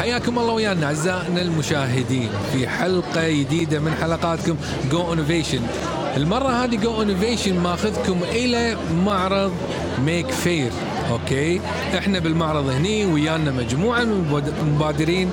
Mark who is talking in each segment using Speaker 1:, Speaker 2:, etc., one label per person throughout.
Speaker 1: حياكم الله ويانا اعزائنا المشاهدين في حلقه جديده من حلقاتكم جو انوفيشن المره هذه جو انوفيشن ماخذكم الى معرض ميك فير اوكي احنا بالمعرض هني ويانا مجموعه من المباد- المبادرين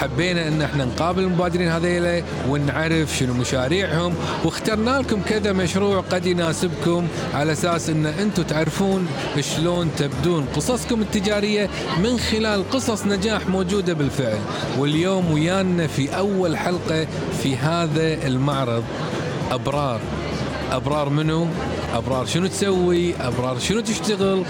Speaker 1: حبينا ان احنا نقابل المبادرين هذيلا ونعرف شنو مشاريعهم واخترنا لكم كذا مشروع قد يناسبكم على اساس ان انتم تعرفون شلون تبدون قصصكم التجاريه من خلال قصص نجاح موجوده بالفعل واليوم ويانا في اول حلقه في هذا المعرض ابرار ابرار منو؟ ابرار شنو تسوي؟ ابرار شنو تشتغل؟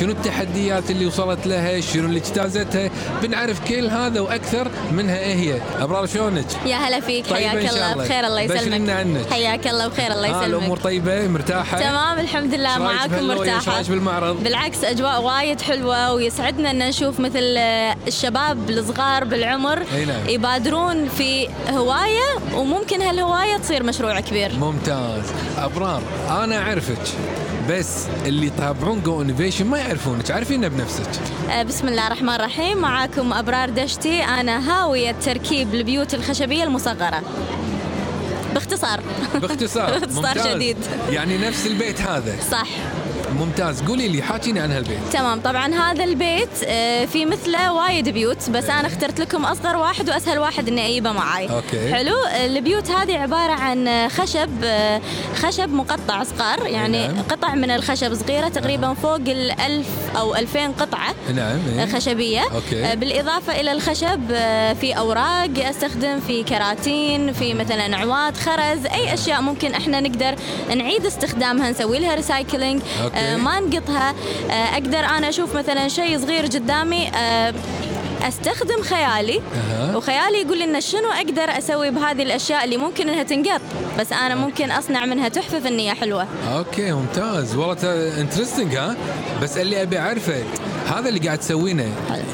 Speaker 1: شنو التحديات اللي وصلت لها؟ شنو اللي اجتازتها؟ بنعرف كل هذا واكثر منها ايه هي؟ ابرار شلونك؟
Speaker 2: يا هلا فيك
Speaker 1: طيب، إن
Speaker 2: حياك
Speaker 1: شاء
Speaker 2: الله
Speaker 1: الله.
Speaker 2: بخير الله
Speaker 1: بشرينا عنك.
Speaker 2: يسلمك حياك الله بخير الله
Speaker 1: آه الامور
Speaker 2: يسلمك
Speaker 1: طيبه مرتاحه؟
Speaker 2: تمام الحمد لله
Speaker 1: إيش رأيك
Speaker 2: معاكم
Speaker 1: بهاللوية؟ إيش
Speaker 2: مرتاحه
Speaker 1: رأيك بالمعرض؟
Speaker 2: بالعكس اجواء وايد حلوه ويسعدنا ان نشوف مثل آه، الشباب الصغار بالعمر
Speaker 1: أي نعم.
Speaker 2: يبادرون في هوايه وممكن هالهوايه تصير مشروع كبير
Speaker 1: ممتاز ابرار انا اعرفك بس اللي يتابعون جو انوفيشن ما يعرفونك عارفينه بنفسك
Speaker 2: آه، بسم الله الرحمن الرحيم معاكم ابرار دشتي انا هاويه تركيب البيوت الخشبيه المصغره باختصار
Speaker 1: باختصار
Speaker 2: باختصار
Speaker 1: ممتاز.
Speaker 2: شديد.
Speaker 1: يعني نفس البيت هذا
Speaker 2: صح
Speaker 1: ممتاز قولي لي حاكيني عن هالبيت
Speaker 2: تمام طبعا هذا البيت آه، في مثله وايد بيوت بس انا اخترت لكم اصغر واحد واسهل واحد اني اجيبه معاي
Speaker 1: أوكي.
Speaker 2: حلو آه، البيوت هذه عباره عن آه، خشب آه، خشب مقطع صغار يعني
Speaker 1: نعم.
Speaker 2: قطع من الخشب صغيره تقريبا فوق الألف او 2000 قطعه
Speaker 1: نعم إيه.
Speaker 2: خشبيه
Speaker 1: أوكي.
Speaker 2: آه، بالاضافه الى الخشب آه، في اوراق استخدم في كراتين في مثلا عواد خرز اي اشياء ممكن احنا نقدر نعيد استخدامها نسوي لها ريسايكلينج
Speaker 1: أوكي.
Speaker 2: ما نقطها آه، اقدر انا اشوف مثلا شيء صغير قدامي آه، استخدم خيالي
Speaker 1: أها.
Speaker 2: وخيالي يقول لي انه شنو اقدر اسوي بهذه الاشياء اللي ممكن انها تنقط بس انا ممكن اصنع منها تحفه فنيه حلوه
Speaker 1: اوكي ممتاز والله انترستنج ها بس اللي ابي اعرفه هذا اللي قاعد تسوينه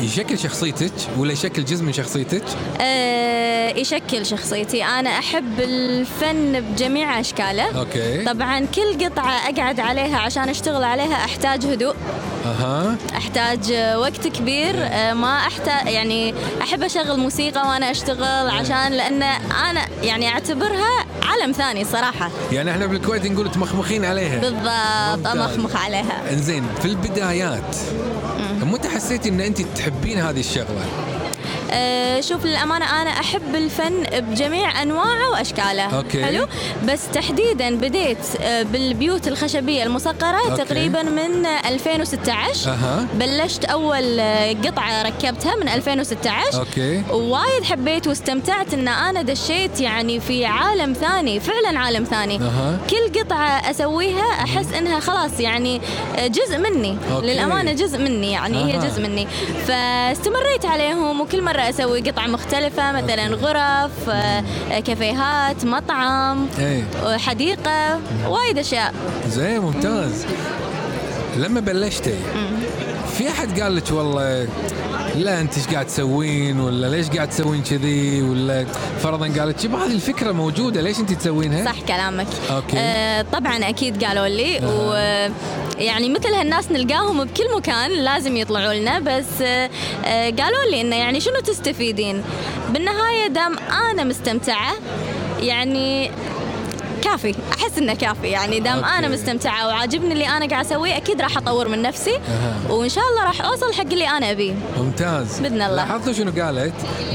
Speaker 1: يشكل شخصيتك ولا يشكل جزء من شخصيتك؟
Speaker 2: أه يشكل شخصيتي انا احب الفن بجميع اشكاله
Speaker 1: اوكي
Speaker 2: طبعا كل قطعة أقعد عليها عشان أشتغل عليها أحتاج هدوء
Speaker 1: اها
Speaker 2: أحتاج آه، وقت كبير آه، ما أحتاج يعني أحب أشغل موسيقى وأنا أشتغل عشان لأن أنا يعني أعتبرها عالم ثاني صراحة
Speaker 1: يعني احنا بالكويت نقول تمخمخين عليها
Speaker 2: بالضبط
Speaker 1: ممتاز.
Speaker 2: أمخمخ عليها
Speaker 1: انزين في البدايات متى حسيتي ان انت تحبين هذه الشغله؟
Speaker 2: أه، شوف للأمانة أنا أحب الفن بجميع أنواعه وأشكاله
Speaker 1: أوكي.
Speaker 2: حلو بس تحديدا بديت أه، بالبيوت الخشبية المصقرة
Speaker 1: أوكي.
Speaker 2: تقريبا من 2016
Speaker 1: أها.
Speaker 2: بلشت أول أه، قطعة ركبتها من 2016
Speaker 1: اوكي
Speaker 2: وايد حبيت واستمتعت ان انا دشيت يعني في عالم ثاني فعلا عالم ثاني
Speaker 1: أها.
Speaker 2: كل قطعه اسويها احس انها خلاص يعني جزء مني
Speaker 1: أوكي.
Speaker 2: للامانه جزء مني يعني هي
Speaker 1: أها.
Speaker 2: جزء مني فاستمريت عليهم وكل مره اسوي قطعه مختلفه مثلا
Speaker 1: أوكي.
Speaker 2: غرف آه، كافيهات مطعم
Speaker 1: ايه
Speaker 2: آه، حديقه وايد اشياء
Speaker 1: زين ممتاز لما بلشتي في احد قال لك والله لا انت ايش قاعد تسوين ولا ليش قاعد تسوين كذي ولا فرضا قال لك يبا هذه الفكره موجوده ليش انت تسوينها؟
Speaker 2: صح كلامك
Speaker 1: إيه؟ أوكي.
Speaker 2: آه طبعا اكيد قالوا لي
Speaker 1: آه.
Speaker 2: آه. ويعني مثل هالناس نلقاهم بكل مكان لازم يطلعوا لنا بس آه آه قالوا لي انه يعني شنو تستفيدين بالنهايه دام انا مستمتعه يعني كافي احس انه كافي يعني دام
Speaker 1: أوكي.
Speaker 2: انا مستمتعه وعاجبني اللي انا قاعد اسويه اكيد راح اطور من نفسي
Speaker 1: أها.
Speaker 2: وان شاء الله راح اوصل حق اللي انا ابيه
Speaker 1: ممتاز
Speaker 2: بإذن الله.
Speaker 1: لاحظتوا شنو قالت؟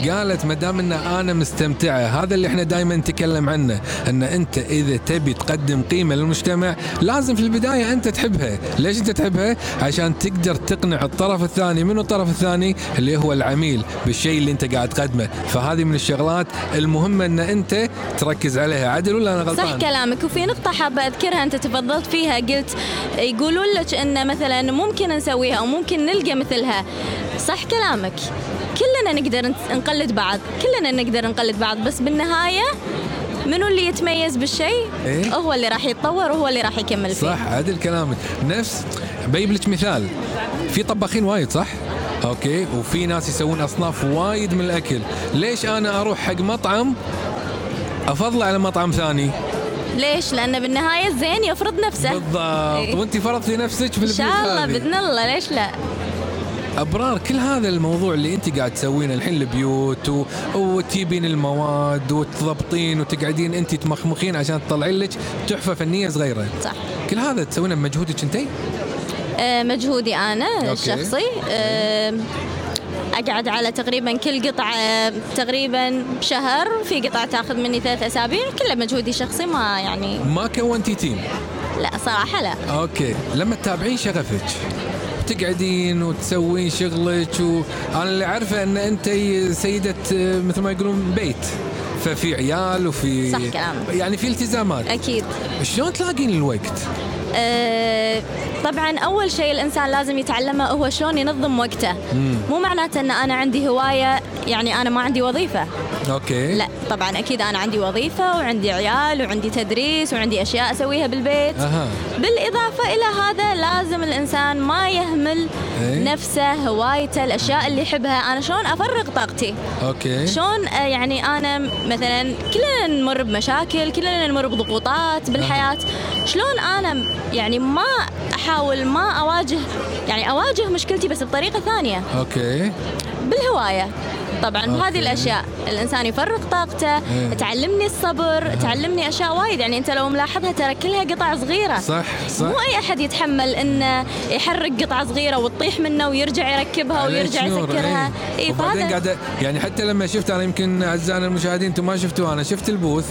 Speaker 1: قالت ما دام ان انا مستمتعه هذا اللي احنا دائما نتكلم عنه ان انت اذا تبي تقدم قيمه للمجتمع لازم في البدايه انت تحبها، ليش انت تحبها؟ عشان تقدر تقنع الطرف الثاني، منو الطرف الثاني؟ اللي هو العميل بالشيء اللي انت قاعد تقدمه، فهذه من الشغلات المهمه ان انت تركز عليها، عدل ولا انا غلطان؟
Speaker 2: صح كلامك وفي نقطة حابة أذكرها أنت تفضلت فيها قلت يقولون لك أن مثلا ممكن نسويها أو ممكن نلقى مثلها صح كلامك كلنا نقدر نت- نقلد بعض كلنا نقدر نقلد بعض بس بالنهاية منو اللي يتميز بالشيء
Speaker 1: إيه؟
Speaker 2: هو اللي راح يتطور وهو اللي راح يكمل فيه
Speaker 1: صح عدل كلامك نفس بجيب لك مثال في طباخين وايد صح اوكي وفي ناس يسوون اصناف وايد من الاكل ليش انا اروح حق مطعم افضله على مطعم ثاني
Speaker 2: ليش لأن بالنهاية الزين يفرض نفسه
Speaker 1: بالضبط
Speaker 2: إيه.
Speaker 1: وانت فرضتي نفسك
Speaker 2: إن
Speaker 1: بالبيت
Speaker 2: شاء الله
Speaker 1: هذه.
Speaker 2: بإذن الله ليش لا
Speaker 1: ابرار كل هذا الموضوع اللي انت قاعد تسوينه الحين البيوت و... وتجيبين المواد وتضبطين وتقعدين انت تمخمخين عشان تطلعين لك تحفه فنيه صغيره
Speaker 2: صح
Speaker 1: كل هذا تسوينه بمجهودك انت؟
Speaker 2: آه، مجهودي انا
Speaker 1: أوكي.
Speaker 2: الشخصي آه، اقعد على تقريبا كل قطعه تقريبا شهر في قطعه تاخذ مني ثلاث اسابيع كله مجهودي شخصي ما يعني
Speaker 1: ما كونتي تيم
Speaker 2: لا صراحه لا
Speaker 1: اوكي لما تتابعين شغفك تقعدين وتسوين شغلك وانا اللي عارفه ان انت سيده آه، مثل ما يقولون بيت ففي عيال وفي
Speaker 2: صح كلامك.
Speaker 1: يعني في التزامات
Speaker 2: اكيد
Speaker 1: شلون تلاقين الوقت؟
Speaker 2: آه، طبعا اول شيء الانسان لازم يتعلمه هو شلون ينظم وقته مو معناته ان انا عندي هوايه يعني انا ما عندي وظيفه
Speaker 1: اوكي
Speaker 2: لا طبعا اكيد انا عندي وظيفه وعندي عيال وعندي تدريس وعندي اشياء اسويها بالبيت
Speaker 1: اها
Speaker 2: بالإضافة إلى هذا لازم الإنسان ما يهمل
Speaker 1: إيه.
Speaker 2: نفسه هوايته الأشياء اللي يحبها أنا شلون أفرغ طاقتي
Speaker 1: إيه. اوكي
Speaker 2: شلون آه، يعني أنا مثلا كلنا نمر بمشاكل كلنا نمر بضغوطات بالحياة شلون أنا يعني ما أحاول ما أواجه يعني أواجه مشكلتي بس بطريقة ثانية
Speaker 1: اوكي
Speaker 2: أه. بالهواية طبعا
Speaker 1: أوكي.
Speaker 2: بهذه الاشياء الانسان يفرغ طاقته
Speaker 1: إيه.
Speaker 2: تعلمني الصبر تعلمني اشياء وايد يعني انت لو ملاحظها ترى كلها قطع صغيره
Speaker 1: صح صح
Speaker 2: مو اي احد يتحمل انه يحرق قطعه صغيره وتطيح منه ويرجع يركبها
Speaker 1: عليه
Speaker 2: ويرجع
Speaker 1: شنور،
Speaker 2: يسكرها
Speaker 1: إيه.
Speaker 2: اي
Speaker 1: وبعدين
Speaker 2: فهذا
Speaker 1: قاعده يعني حتى لما شفت انا يمكن اعزائنا المشاهدين انتم ما شفتوا انا شفت البوث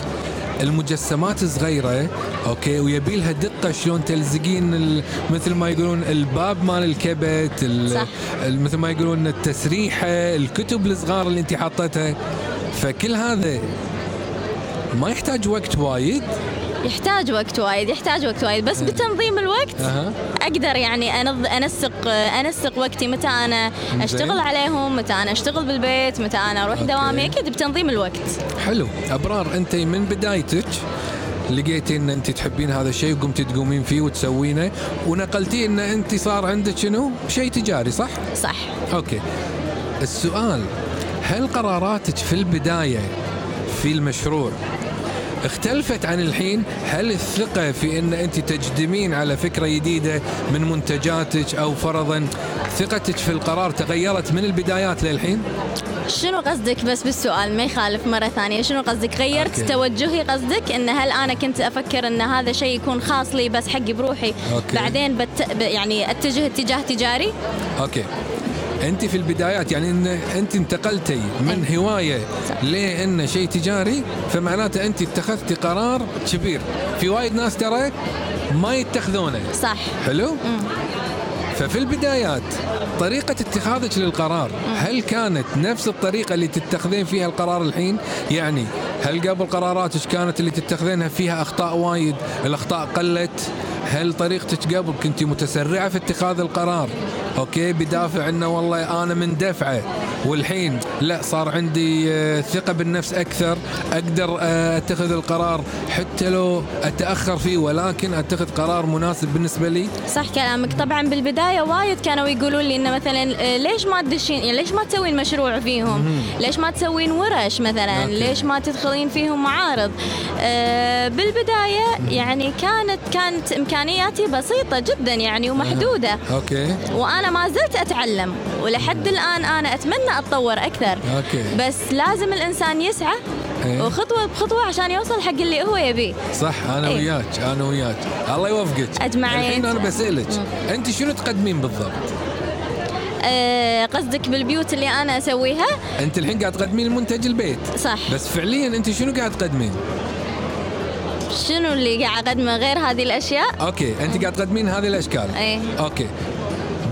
Speaker 1: المجسمات صغيرة اوكي ويبي لها دقة شلون تلزقين ال- مثل ما يقولون الباب مال الكبت ال-
Speaker 2: صح.
Speaker 1: ال- مثل ما يقولون التسريحة الكتب الصغار اللي انت حطيتها فكل هذا ما يحتاج وقت وايد
Speaker 2: يحتاج وقت وايد يحتاج وقت وايد
Speaker 1: إيه.
Speaker 2: بس بتنظيم الوقت
Speaker 1: اها
Speaker 2: اقدر يعني أنظ... انسق انسق وقتي متى انا
Speaker 1: زين.
Speaker 2: اشتغل عليهم متى انا اشتغل بالبيت متى انا اروح
Speaker 1: أوكي.
Speaker 2: دوامي اكيد بتنظيم الوقت
Speaker 1: حلو ابرار انت من بدايتك لقيتي ان انت تحبين هذا الشيء وقمتي تقومين فيه وتسوينه ونقلتي ان انت صار عندك شنو؟ شيء تجاري صح؟
Speaker 2: صح
Speaker 1: اوكي. السؤال هل قراراتك في البدايه في المشروع اختلفت عن الحين؟ هل الثقه في ان انت تجدمين على فكره جديده من منتجاتك او فرضا ثقتك في القرار تغيرت من البدايات للحين؟
Speaker 2: شنو قصدك بس بالسؤال ما يخالف مرة ثانية شنو قصدك غيرت
Speaker 1: أوكي.
Speaker 2: أوكي. توجهي قصدك إن هل أنا كنت أفكر إن هذا شيء يكون خاص لي بس حقي بروحي
Speaker 1: أوكي.
Speaker 2: بعدين بت... ب- يعني أتجه اتجاه تجاري
Speaker 1: اوكي انت في البدايات يعني ان انت انتقلتي من هوايه
Speaker 2: صح.
Speaker 1: لان شيء تجاري فمعناته انت اتخذتي قرار كبير في وايد ناس ترى ما يتخذونه
Speaker 2: صح
Speaker 1: حلو ففي البدايات طريقة اتخاذك للقرار هل كانت نفس الطريقة اللي تتخذين فيها القرار الحين؟ يعني هل قبل قراراتك كانت اللي تتخذينها فيها أخطاء وايد؟ الأخطاء قلت؟ هل طريقتك قبل كنت متسرعة في اتخاذ القرار؟ أوكي بدافع أنه والله أنا مندفعة والحين لا صار عندي آه، ثقة بالنفس أكثر أقدر آه، أتخذ القرار حتى لو أتأخر فيه ولكن أتخذ قرار مناسب بالنسبة لي
Speaker 2: صح كلامك طبعا بالبداية وايد كانوا يقولوا لي إن مثلا آه، ليش ما تدشين يعني ليش ما تسوين مشروع فيهم ليش ما تسوين ورش مثلا
Speaker 1: أوكي.
Speaker 2: ليش ما تدخلين فيهم معارض آه، بالبداية يعني كانت كانت إمكانياتي بسيطة جدا يعني ومحدودة
Speaker 1: اوكي
Speaker 2: وانا ما زلت اتعلم ولحد الان انا اتمنى اتطور اكثر
Speaker 1: أوكي.
Speaker 2: بس لازم الانسان يسعى
Speaker 1: إيه.
Speaker 2: وخطوه بخطوه عشان يوصل حق اللي هو يبيه
Speaker 1: صح انا
Speaker 2: إيه.
Speaker 1: وياك انا وياك الله يوفقك
Speaker 2: أجمعين.
Speaker 1: الحين انا بسالك انت شنو تقدمين بالضبط؟
Speaker 2: أه قصدك بالبيوت اللي انا اسويها
Speaker 1: انت الحين قاعد تقدمين المنتج البيت
Speaker 2: صح
Speaker 1: بس فعليا انت شنو قاعد تقدمين؟
Speaker 2: شنو اللي قاعد اقدمه غير هذه الاشياء
Speaker 1: اوكي انت قاعد تقدمين هذه الاشكال
Speaker 2: إيه.
Speaker 1: اوكي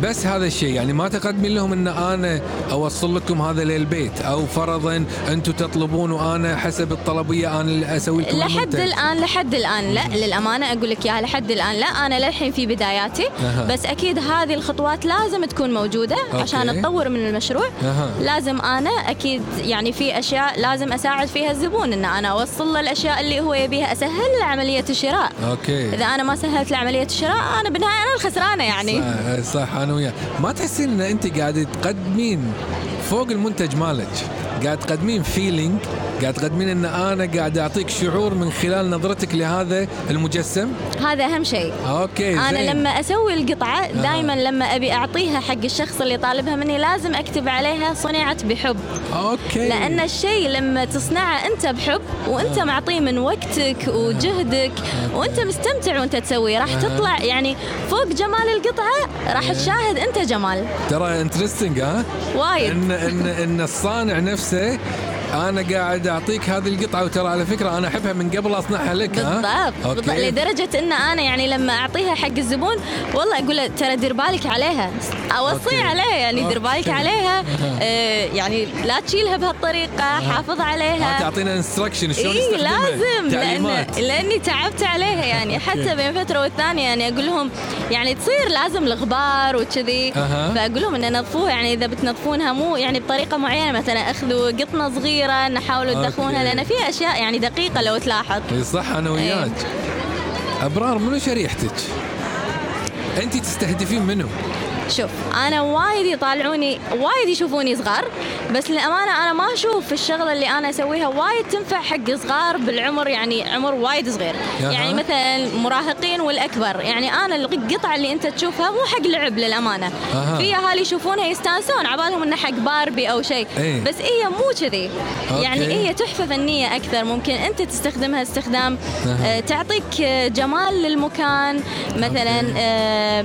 Speaker 1: بس هذا الشيء يعني ما تقدمين لهم ان انا اوصل لكم هذا للبيت او فرضا انتم تطلبون وانا حسب الطلبيه انا اللي اسوي لكم
Speaker 2: لحد
Speaker 1: المنتج.
Speaker 2: الان لحد الان لا للامانه اقول لك اياها لحد الان لا انا للحين في بداياتي
Speaker 1: أها.
Speaker 2: بس اكيد هذه الخطوات لازم تكون موجوده
Speaker 1: أوكي.
Speaker 2: عشان اتطور من المشروع
Speaker 1: أها.
Speaker 2: لازم انا اكيد يعني في اشياء لازم اساعد فيها الزبون ان انا اوصل له الاشياء اللي هو يبيها اسهل له عمليه الشراء
Speaker 1: اوكي
Speaker 2: اذا انا ما سهلت له عمليه الشراء انا بالنهايه انا الخسرانه يعني
Speaker 1: صح, صح انا وياك ما تحسين ان انت قاعده تقدمين فوق المنتج مالك قاعد تقدمين فيلينج قاعد تقدمين ان انا قاعد اعطيك شعور من خلال نظرتك لهذا المجسم
Speaker 2: هذا اهم شيء
Speaker 1: اوكي إيه، زين.
Speaker 2: انا لما اسوي القطعه دائما لما ابي اعطيها حق الشخص اللي طالبها مني لازم اكتب عليها صنعت بحب
Speaker 1: اوكي
Speaker 2: لان الشيء لما تصنعه انت بحب وانت معطيه من وقتك وجهدك وانت مستمتع وانت تسويه راح
Speaker 1: آه.
Speaker 2: تطلع يعني فوق جمال القطعه
Speaker 1: إيه.
Speaker 2: راح تشاهد انت جمال
Speaker 1: ترى انترستنج ها
Speaker 2: وايد
Speaker 1: ان ان ان الصانع نفسه انا قاعد اعطيك هذه القطعه وترى على فكره انا احبها من قبل اصنعها لك ها
Speaker 2: بالضبط بالضبط لدرجة ان انا يعني لما اعطيها حق الزبون والله اقول له ترى دير بالك عليها
Speaker 1: أوكي.
Speaker 2: اوصيه عليه يعني دير بالك
Speaker 1: أوكي.
Speaker 2: عليها آه يعني لا تشيلها بهالطريقة حافظ
Speaker 1: ها
Speaker 2: عليها
Speaker 1: تعطينا انستركشن شلون
Speaker 2: اي
Speaker 1: نستخدمها.
Speaker 2: إيه، لازم لان
Speaker 1: تعليمات
Speaker 2: لاني تعبت عليها يعني حتى بين فتره والثانيه يعني اقول لهم يعني تصير لازم الغبار وكذي
Speaker 1: أها.
Speaker 2: فاقول لهم ان نظفوها يعني اذا بتنظفونها مو يعني بطريقه معينه مثلا اخذوا قطنه صغيره نحاولوا
Speaker 1: أوكي.
Speaker 2: تدخلونها لان في اشياء يعني دقيقه لو تلاحظ
Speaker 1: اي صح انا وياك ابرار منو شريحتك؟ انت تستهدفين منو؟
Speaker 2: شوف انا وايد يطالعوني وايد يشوفوني صغار بس للامانه انا ما اشوف الشغله اللي انا اسويها وايد تنفع حق صغار بالعمر يعني عمر وايد صغير
Speaker 1: أها.
Speaker 2: يعني مثلا مراهقين والاكبر يعني انا القطعه اللي انت تشوفها مو حق لعب للامانه
Speaker 1: أها.
Speaker 2: في اهالي يشوفونها يستانسون عبالهم انها حق باربي او شيء
Speaker 1: إيه.
Speaker 2: بس هي إيه مو كذي يعني
Speaker 1: أوكي.
Speaker 2: هي إيه تحفه فنيه اكثر ممكن انت تستخدمها استخدام
Speaker 1: أها.
Speaker 2: آه، تعطيك آه، جمال للمكان مثلا
Speaker 1: أوكي.
Speaker 2: آه،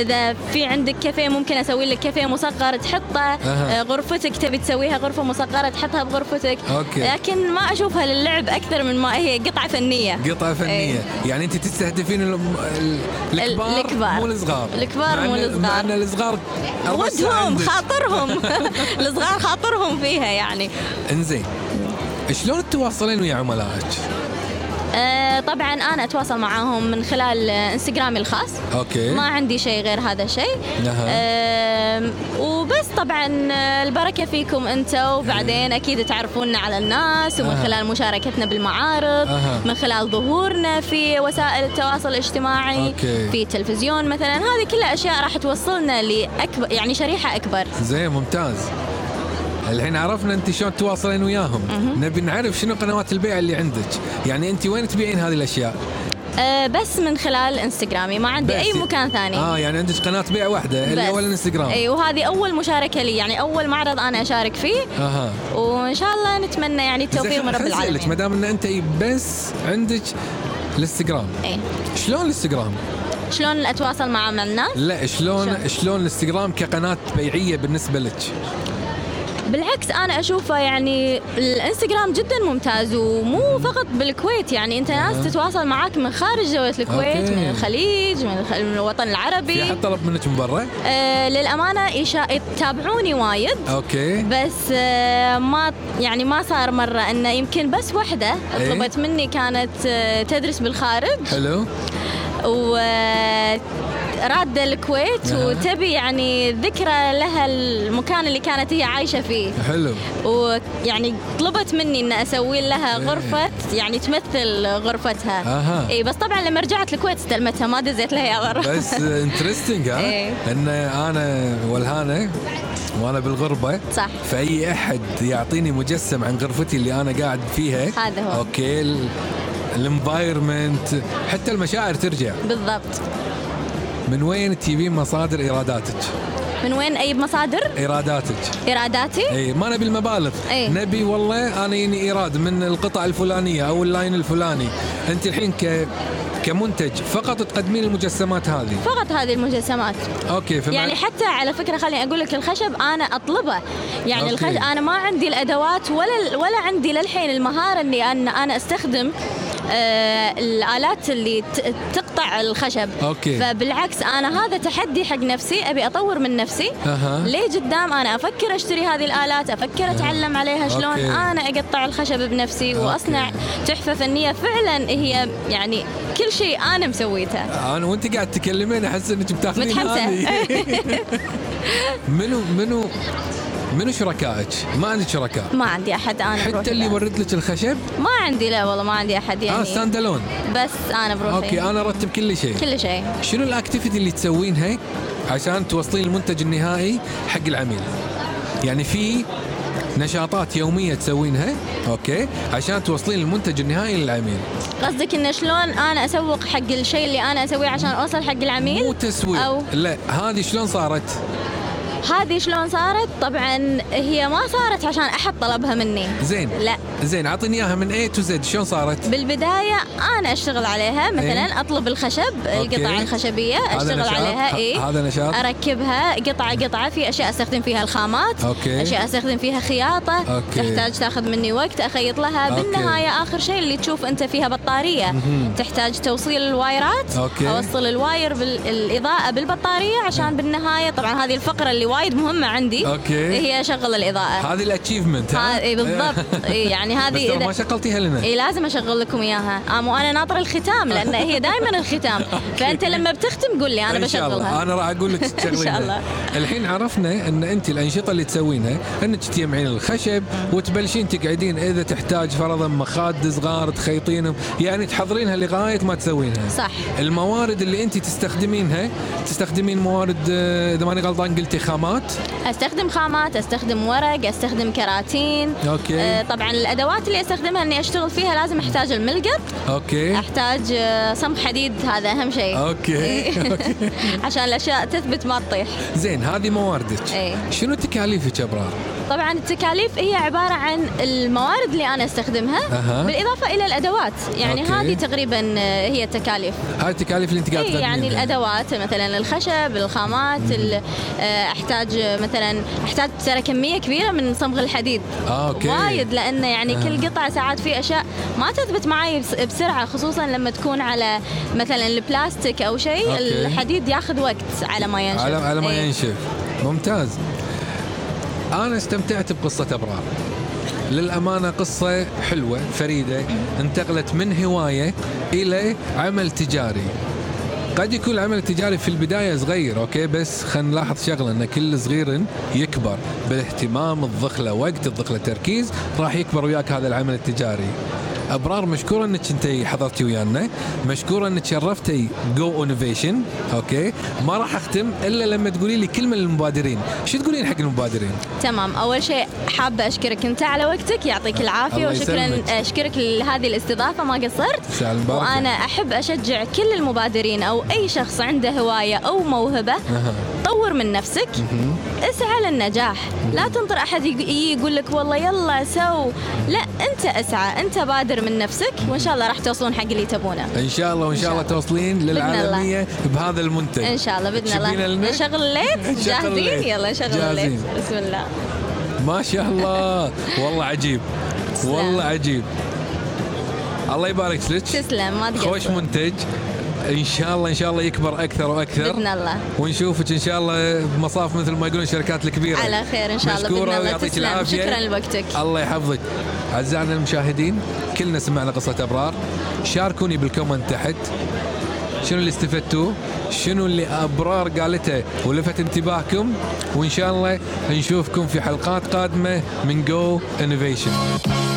Speaker 2: اذا في عندك كافيه ممكن اسوي لك كافيه مصغر تحطه
Speaker 1: أها.
Speaker 2: آه، غرفتك تبي تسويها غرفه مصغره تحطها بغرفتك
Speaker 1: أوكي.
Speaker 2: لكن ما اشوفها للعب اكثر من ما هي قطعه فنيه
Speaker 1: قطعه فنيه
Speaker 2: إيه.
Speaker 1: أي. يعني انت تستهدفين ال- ال- الكبار
Speaker 2: الكبار.
Speaker 1: مو الصغار
Speaker 2: الكبار
Speaker 1: مع
Speaker 2: مو
Speaker 1: إن- مع
Speaker 2: الصغار.
Speaker 1: ان الصغار
Speaker 2: ودهم
Speaker 1: عندك.
Speaker 2: خاطرهم الصغار خاطرهم فيها يعني
Speaker 1: انزين شلون تتواصلين ويا عملائك؟
Speaker 2: آه، طبعا انا اتواصل معاهم من خلال آه، انستغرامي الخاص
Speaker 1: اوكي
Speaker 2: ما عندي شيء غير هذا الشيء
Speaker 1: نعم.
Speaker 2: أم، وبس طبعا آه، البركه فيكم انتم وبعدين اكيد تعرفونا على الناس ومن
Speaker 1: أها.
Speaker 2: خلال مشاركتنا بالمعارض
Speaker 1: أها.
Speaker 2: من خلال ظهورنا في وسائل التواصل الاجتماعي
Speaker 1: أوكي.
Speaker 2: في التلفزيون مثلا هذه كلها اشياء راح توصلنا لاكبر يعني شريحه اكبر
Speaker 1: زين ممتاز الحين عرفنا انت شلون تتواصلين وياهم نبي نعرف شنو قنوات البيع اللي عندك يعني انت وين تبيعين هذه الاشياء
Speaker 2: أه، بس من خلال انستغرامي ما عندي
Speaker 1: بس.
Speaker 2: اي مكان ثاني
Speaker 1: اه يعني عندك قناه بيع واحده اللي هو الانستغرام
Speaker 2: اي إيه، وهذه اول مشاركه لي يعني اول معرض انا اشارك فيه
Speaker 1: اها
Speaker 2: وان شاء الله نتمنى يعني التوفيق
Speaker 1: زين،
Speaker 2: من رب
Speaker 1: خليني أسألك، ما
Speaker 2: العالمين
Speaker 1: دام ان انت بس عندك الانستغرام
Speaker 2: إيه.
Speaker 1: شلون الانستغرام؟
Speaker 2: شلون اتواصل مع مع الناس
Speaker 1: لا شلون
Speaker 2: شلون؟
Speaker 1: شلون الانستغرام كقناه بيعيه بالنسبه لك؟
Speaker 2: بالعكس انا اشوفه يعني الانستغرام جدا ممتاز ومو فقط بالكويت يعني انت ناس تتواصل معاك من خارج دوله الكويت
Speaker 1: أوكي.
Speaker 2: من الخليج من, الخ... من الوطن
Speaker 1: في
Speaker 2: العربي
Speaker 1: حد يعني طلب منك من برا؟
Speaker 2: آه للامانه يشا... يتابعوني وايد
Speaker 1: اوكي
Speaker 2: بس آه، ما يعني ما صار مره انه يمكن بس وحده
Speaker 1: إيه.
Speaker 2: طلبت مني كانت آه، تدرس بالخارج
Speaker 1: حلو
Speaker 2: ورادة الكويت
Speaker 1: أها.
Speaker 2: وتبي يعني ذكرى لها المكان اللي كانت هي عايشة فيه
Speaker 1: حلو
Speaker 2: ويعني طلبت مني ان اسوي لها
Speaker 1: إيه.
Speaker 2: غرفة يعني تمثل غرفتها
Speaker 1: أها.
Speaker 2: اي بس طبعا لما رجعت الكويت استلمتها ما دزيت لها يا برا
Speaker 1: بس انترستنج ها
Speaker 2: إيه.
Speaker 1: ان انا والهانه وانا بالغربه
Speaker 2: صح.
Speaker 1: فاي احد يعطيني مجسم عن غرفتي اللي انا قاعد فيها
Speaker 2: هذا هو.
Speaker 1: اوكي الانفايرمنت حتى المشاعر ترجع
Speaker 2: بالضبط
Speaker 1: من وين تجيبين مصادر ايراداتك
Speaker 2: من وين اي مصادر
Speaker 1: ايراداتك
Speaker 2: ايراداتي
Speaker 1: اي ما نبي المبالغ
Speaker 2: إي.
Speaker 1: نبي والله انا يني ايراد من القطع الفلانيه او اللاين الفلاني انت الحين ك كمنتج فقط تقدمين المجسمات هذه
Speaker 2: فقط هذه المجسمات
Speaker 1: اوكي فمع
Speaker 2: يعني حتى على فكره خليني اقول لك الخشب انا اطلبه يعني
Speaker 1: أوكي.
Speaker 2: الخشب انا ما عندي الادوات ولا ولا عندي للحين المهاره اني ان انا استخدم آه الالات اللي ت- تقطع الخشب
Speaker 1: أوكي.
Speaker 2: فبالعكس انا هذا تحدي حق نفسي ابي اطور من نفسي
Speaker 1: أها.
Speaker 2: ليه قدام انا افكر اشتري هذه الالات افكر اتعلم عليها شلون
Speaker 1: أوكي.
Speaker 2: انا اقطع الخشب بنفسي
Speaker 1: أوكي.
Speaker 2: واصنع تحفه فنيه فعلا هي يعني كل شيء انا مسويته
Speaker 1: انا وانت قاعد تكلمين احس انك بتاخذين
Speaker 2: متحمسة.
Speaker 1: هذه. منو منو منو شركائك؟ ما عندك شركاء
Speaker 2: ما عندي احد انا بروحي
Speaker 1: حتى اللي
Speaker 2: بعد.
Speaker 1: يورد لك الخشب آه،
Speaker 2: ما عندي لا والله ما عندي احد يعني
Speaker 1: اه ستاند الون
Speaker 2: بس انا بروحي
Speaker 1: اوكي انا ارتب كل شيء
Speaker 2: كل شيء
Speaker 1: شنو الاكتيفيتي اللي تسوينها عشان توصلين المنتج النهائي حق العميل؟ يعني في نشاطات يوميه تسوينها اوكي عشان توصلين المنتج النهائي للعميل
Speaker 2: قصدك انه شلون انا اسوق حق الشيء اللي انا اسويه عشان اوصل حق العميل
Speaker 1: مو تسويق
Speaker 2: أو-
Speaker 1: لا هذه شلون صارت
Speaker 2: هذه شلون صارت طبعا هي ما صارت عشان احد طلبها مني
Speaker 1: زين
Speaker 2: لا
Speaker 1: زين اعطيني اياها من A تو Z شلون صارت
Speaker 2: بالبداية أنا أشتغل عليها مثلا أطلب الخشب
Speaker 1: إيه. أوكي.
Speaker 2: القطع الخشبية
Speaker 1: هذا
Speaker 2: أشتغل
Speaker 1: نشاط.
Speaker 2: عليها
Speaker 1: ه-
Speaker 2: إيه
Speaker 1: هذا نشاط.
Speaker 2: أركبها قطعة قطعة في أشياء أستخدم فيها الخامات
Speaker 1: أوكي.
Speaker 2: أشياء أستخدم فيها خياطة
Speaker 1: أوكي.
Speaker 2: تحتاج تاخذ مني وقت أخيط لها
Speaker 1: أوكي.
Speaker 2: بالنهاية آخر شيء اللي تشوف أنت فيها بطارية تحتاج توصيل الوايرات
Speaker 1: أوكي.
Speaker 2: أوصل الواير بالإضاءة بالبطارية عشان بالنهاية طبعا هذه الفقرة اللي وايد مهمة عندي
Speaker 1: أوكي.
Speaker 2: هي أشغل الإضاءة
Speaker 1: هذه الاتشيفمنت
Speaker 2: ها- إيه بالضبط إيه يعني هذه
Speaker 1: بس ترى
Speaker 2: إذا-
Speaker 1: ما شغلتيها لنا
Speaker 2: اي إيه، لازم اشغل لكم آه، اياها ام وانا ناطره الختام لان هي دائما الختام فانت لما بتختم قول لي انا
Speaker 1: ان شاء الله
Speaker 2: بشغلها
Speaker 1: انا راح اقول لك تشتغلين
Speaker 2: إن شاء الله.
Speaker 1: الحين عرفنا ان انت الانشطه اللي تسوينها انك تجمعين الخشب وتبلشين تقعدين اذا تحتاج فرضا مخاد صغار تخيطينهم يعني تحضرينها لغايه ما تسوينها
Speaker 2: صح.
Speaker 1: الموارد اللي انت تستخدمينها تستخدمين موارد آه، اذا ماني غلطان قلتي خامات
Speaker 2: استخدم خامات استخدم ورق استخدم كراتين
Speaker 1: أوكي.
Speaker 2: آه، طبعا الادوات اللي استخدمها اني اشتغل فيها لازم احتاج الملقط
Speaker 1: اوكي
Speaker 2: احتاج آه، صمغ حديد هذا اهم شيء
Speaker 1: إيه. أوكي.
Speaker 2: إيه.
Speaker 1: أوكي.
Speaker 2: عشان الاشياء تثبت ما تطيح
Speaker 1: زين هذه مواردك
Speaker 2: إيه.
Speaker 1: شنو تكاليفك ابرار؟
Speaker 2: طبعا التكاليف هي عبارة عن الموارد اللي أنا استخدمها
Speaker 1: أها.
Speaker 2: بالإضافة إلى الأدوات يعني
Speaker 1: أوكي.
Speaker 2: هذه تقريبا آه، هي التكاليف
Speaker 1: هاي التكاليف اللي انت قاعد
Speaker 2: إيه يعني
Speaker 1: تقدمينها.
Speaker 2: الادوات مثلا الخشب الخامات ال- آه، احتاج مثلا احتاج ترى كميه كبيره من صمغ الحديد
Speaker 1: آه، أوكي.
Speaker 2: وايد لانه يعني
Speaker 1: آه.
Speaker 2: كل قطعه ساعات في اشياء ما تثبت معي بس- بسرعه خصوصا لما تكون على مثلا البلاستيك او شيء
Speaker 1: أوكي.
Speaker 2: الحديد ياخذ وقت على ما ينشف
Speaker 1: على على ما
Speaker 2: إيه.
Speaker 1: ينشف ممتاز انا استمتعت بقصه ابرار للامانه قصه حلوه فريده انتقلت من هوايه الى عمل تجاري قد يكون العمل التجاري في البدايه صغير اوكي بس خلينا نلاحظ شغله ان كل صغير يكبر بالاهتمام الضخله وقت الضخله تركيز راح يكبر وياك هذا العمل التجاري ابرار مشكوره انك انت حضرتي ويانا مشكوره انك شرفتي جو انوفيشن اوكي ما راح اختم الا لما تقولي لي كلمه للمبادرين شو تقولين حق المبادرين
Speaker 2: تمام اول شيء حابه اشكرك انت على وقتك يعطيك العافيه
Speaker 1: الله
Speaker 2: وشكرا
Speaker 1: يسلمك.
Speaker 2: اشكرك لهذه الاستضافه ما قصرت
Speaker 1: ساعة المباركة.
Speaker 2: وانا احب اشجع كل المبادرين او اي شخص عنده هوايه او موهبه
Speaker 1: أها.
Speaker 2: طور من نفسك اسعى للنجاح لا تنطر احد يق- يجي يقول لك والله يلا سو لا انت اسعى انت بادر من نفسك وان شاء الله راح توصلون حق اللي تبونه
Speaker 1: ان شاء الله وان شاء
Speaker 2: إن شاء
Speaker 1: الله توصلين
Speaker 2: الله.
Speaker 1: للعالميه بهذا المنتج
Speaker 2: ان شاء الله باذن
Speaker 1: تشبين
Speaker 2: الله
Speaker 1: لنا؟
Speaker 2: نشغل الليت
Speaker 1: نشغل
Speaker 2: جاهزين
Speaker 1: الليت.
Speaker 2: يلا نشغل الليت
Speaker 1: جاهزين.
Speaker 2: بسم الله
Speaker 1: ما شاء الله والله عجيب والله عجيب الله يبارك لك
Speaker 2: تسلم ما تقصر
Speaker 1: خوش منتج ان شاء الله ان شاء الله يكبر اكثر
Speaker 2: باذن
Speaker 1: واكثر
Speaker 2: الله
Speaker 1: ونشوفك ان شاء الله بمصاف مثل ما يقولون الشركات الكبيره
Speaker 2: على خير ان شاء الله
Speaker 1: مشكورة
Speaker 2: باذن الله
Speaker 1: ويعطيك
Speaker 2: تسلم
Speaker 1: العافية.
Speaker 2: شكرا لوقتك
Speaker 1: الله يحفظك اعزائنا المشاهدين كلنا سمعنا قصه ابرار شاركوني بالكومنت تحت شنو اللي استفدتوه شنو اللي ابرار قالته ولفت انتباهكم وان شاء الله نشوفكم في حلقات قادمه من جو انوفيشن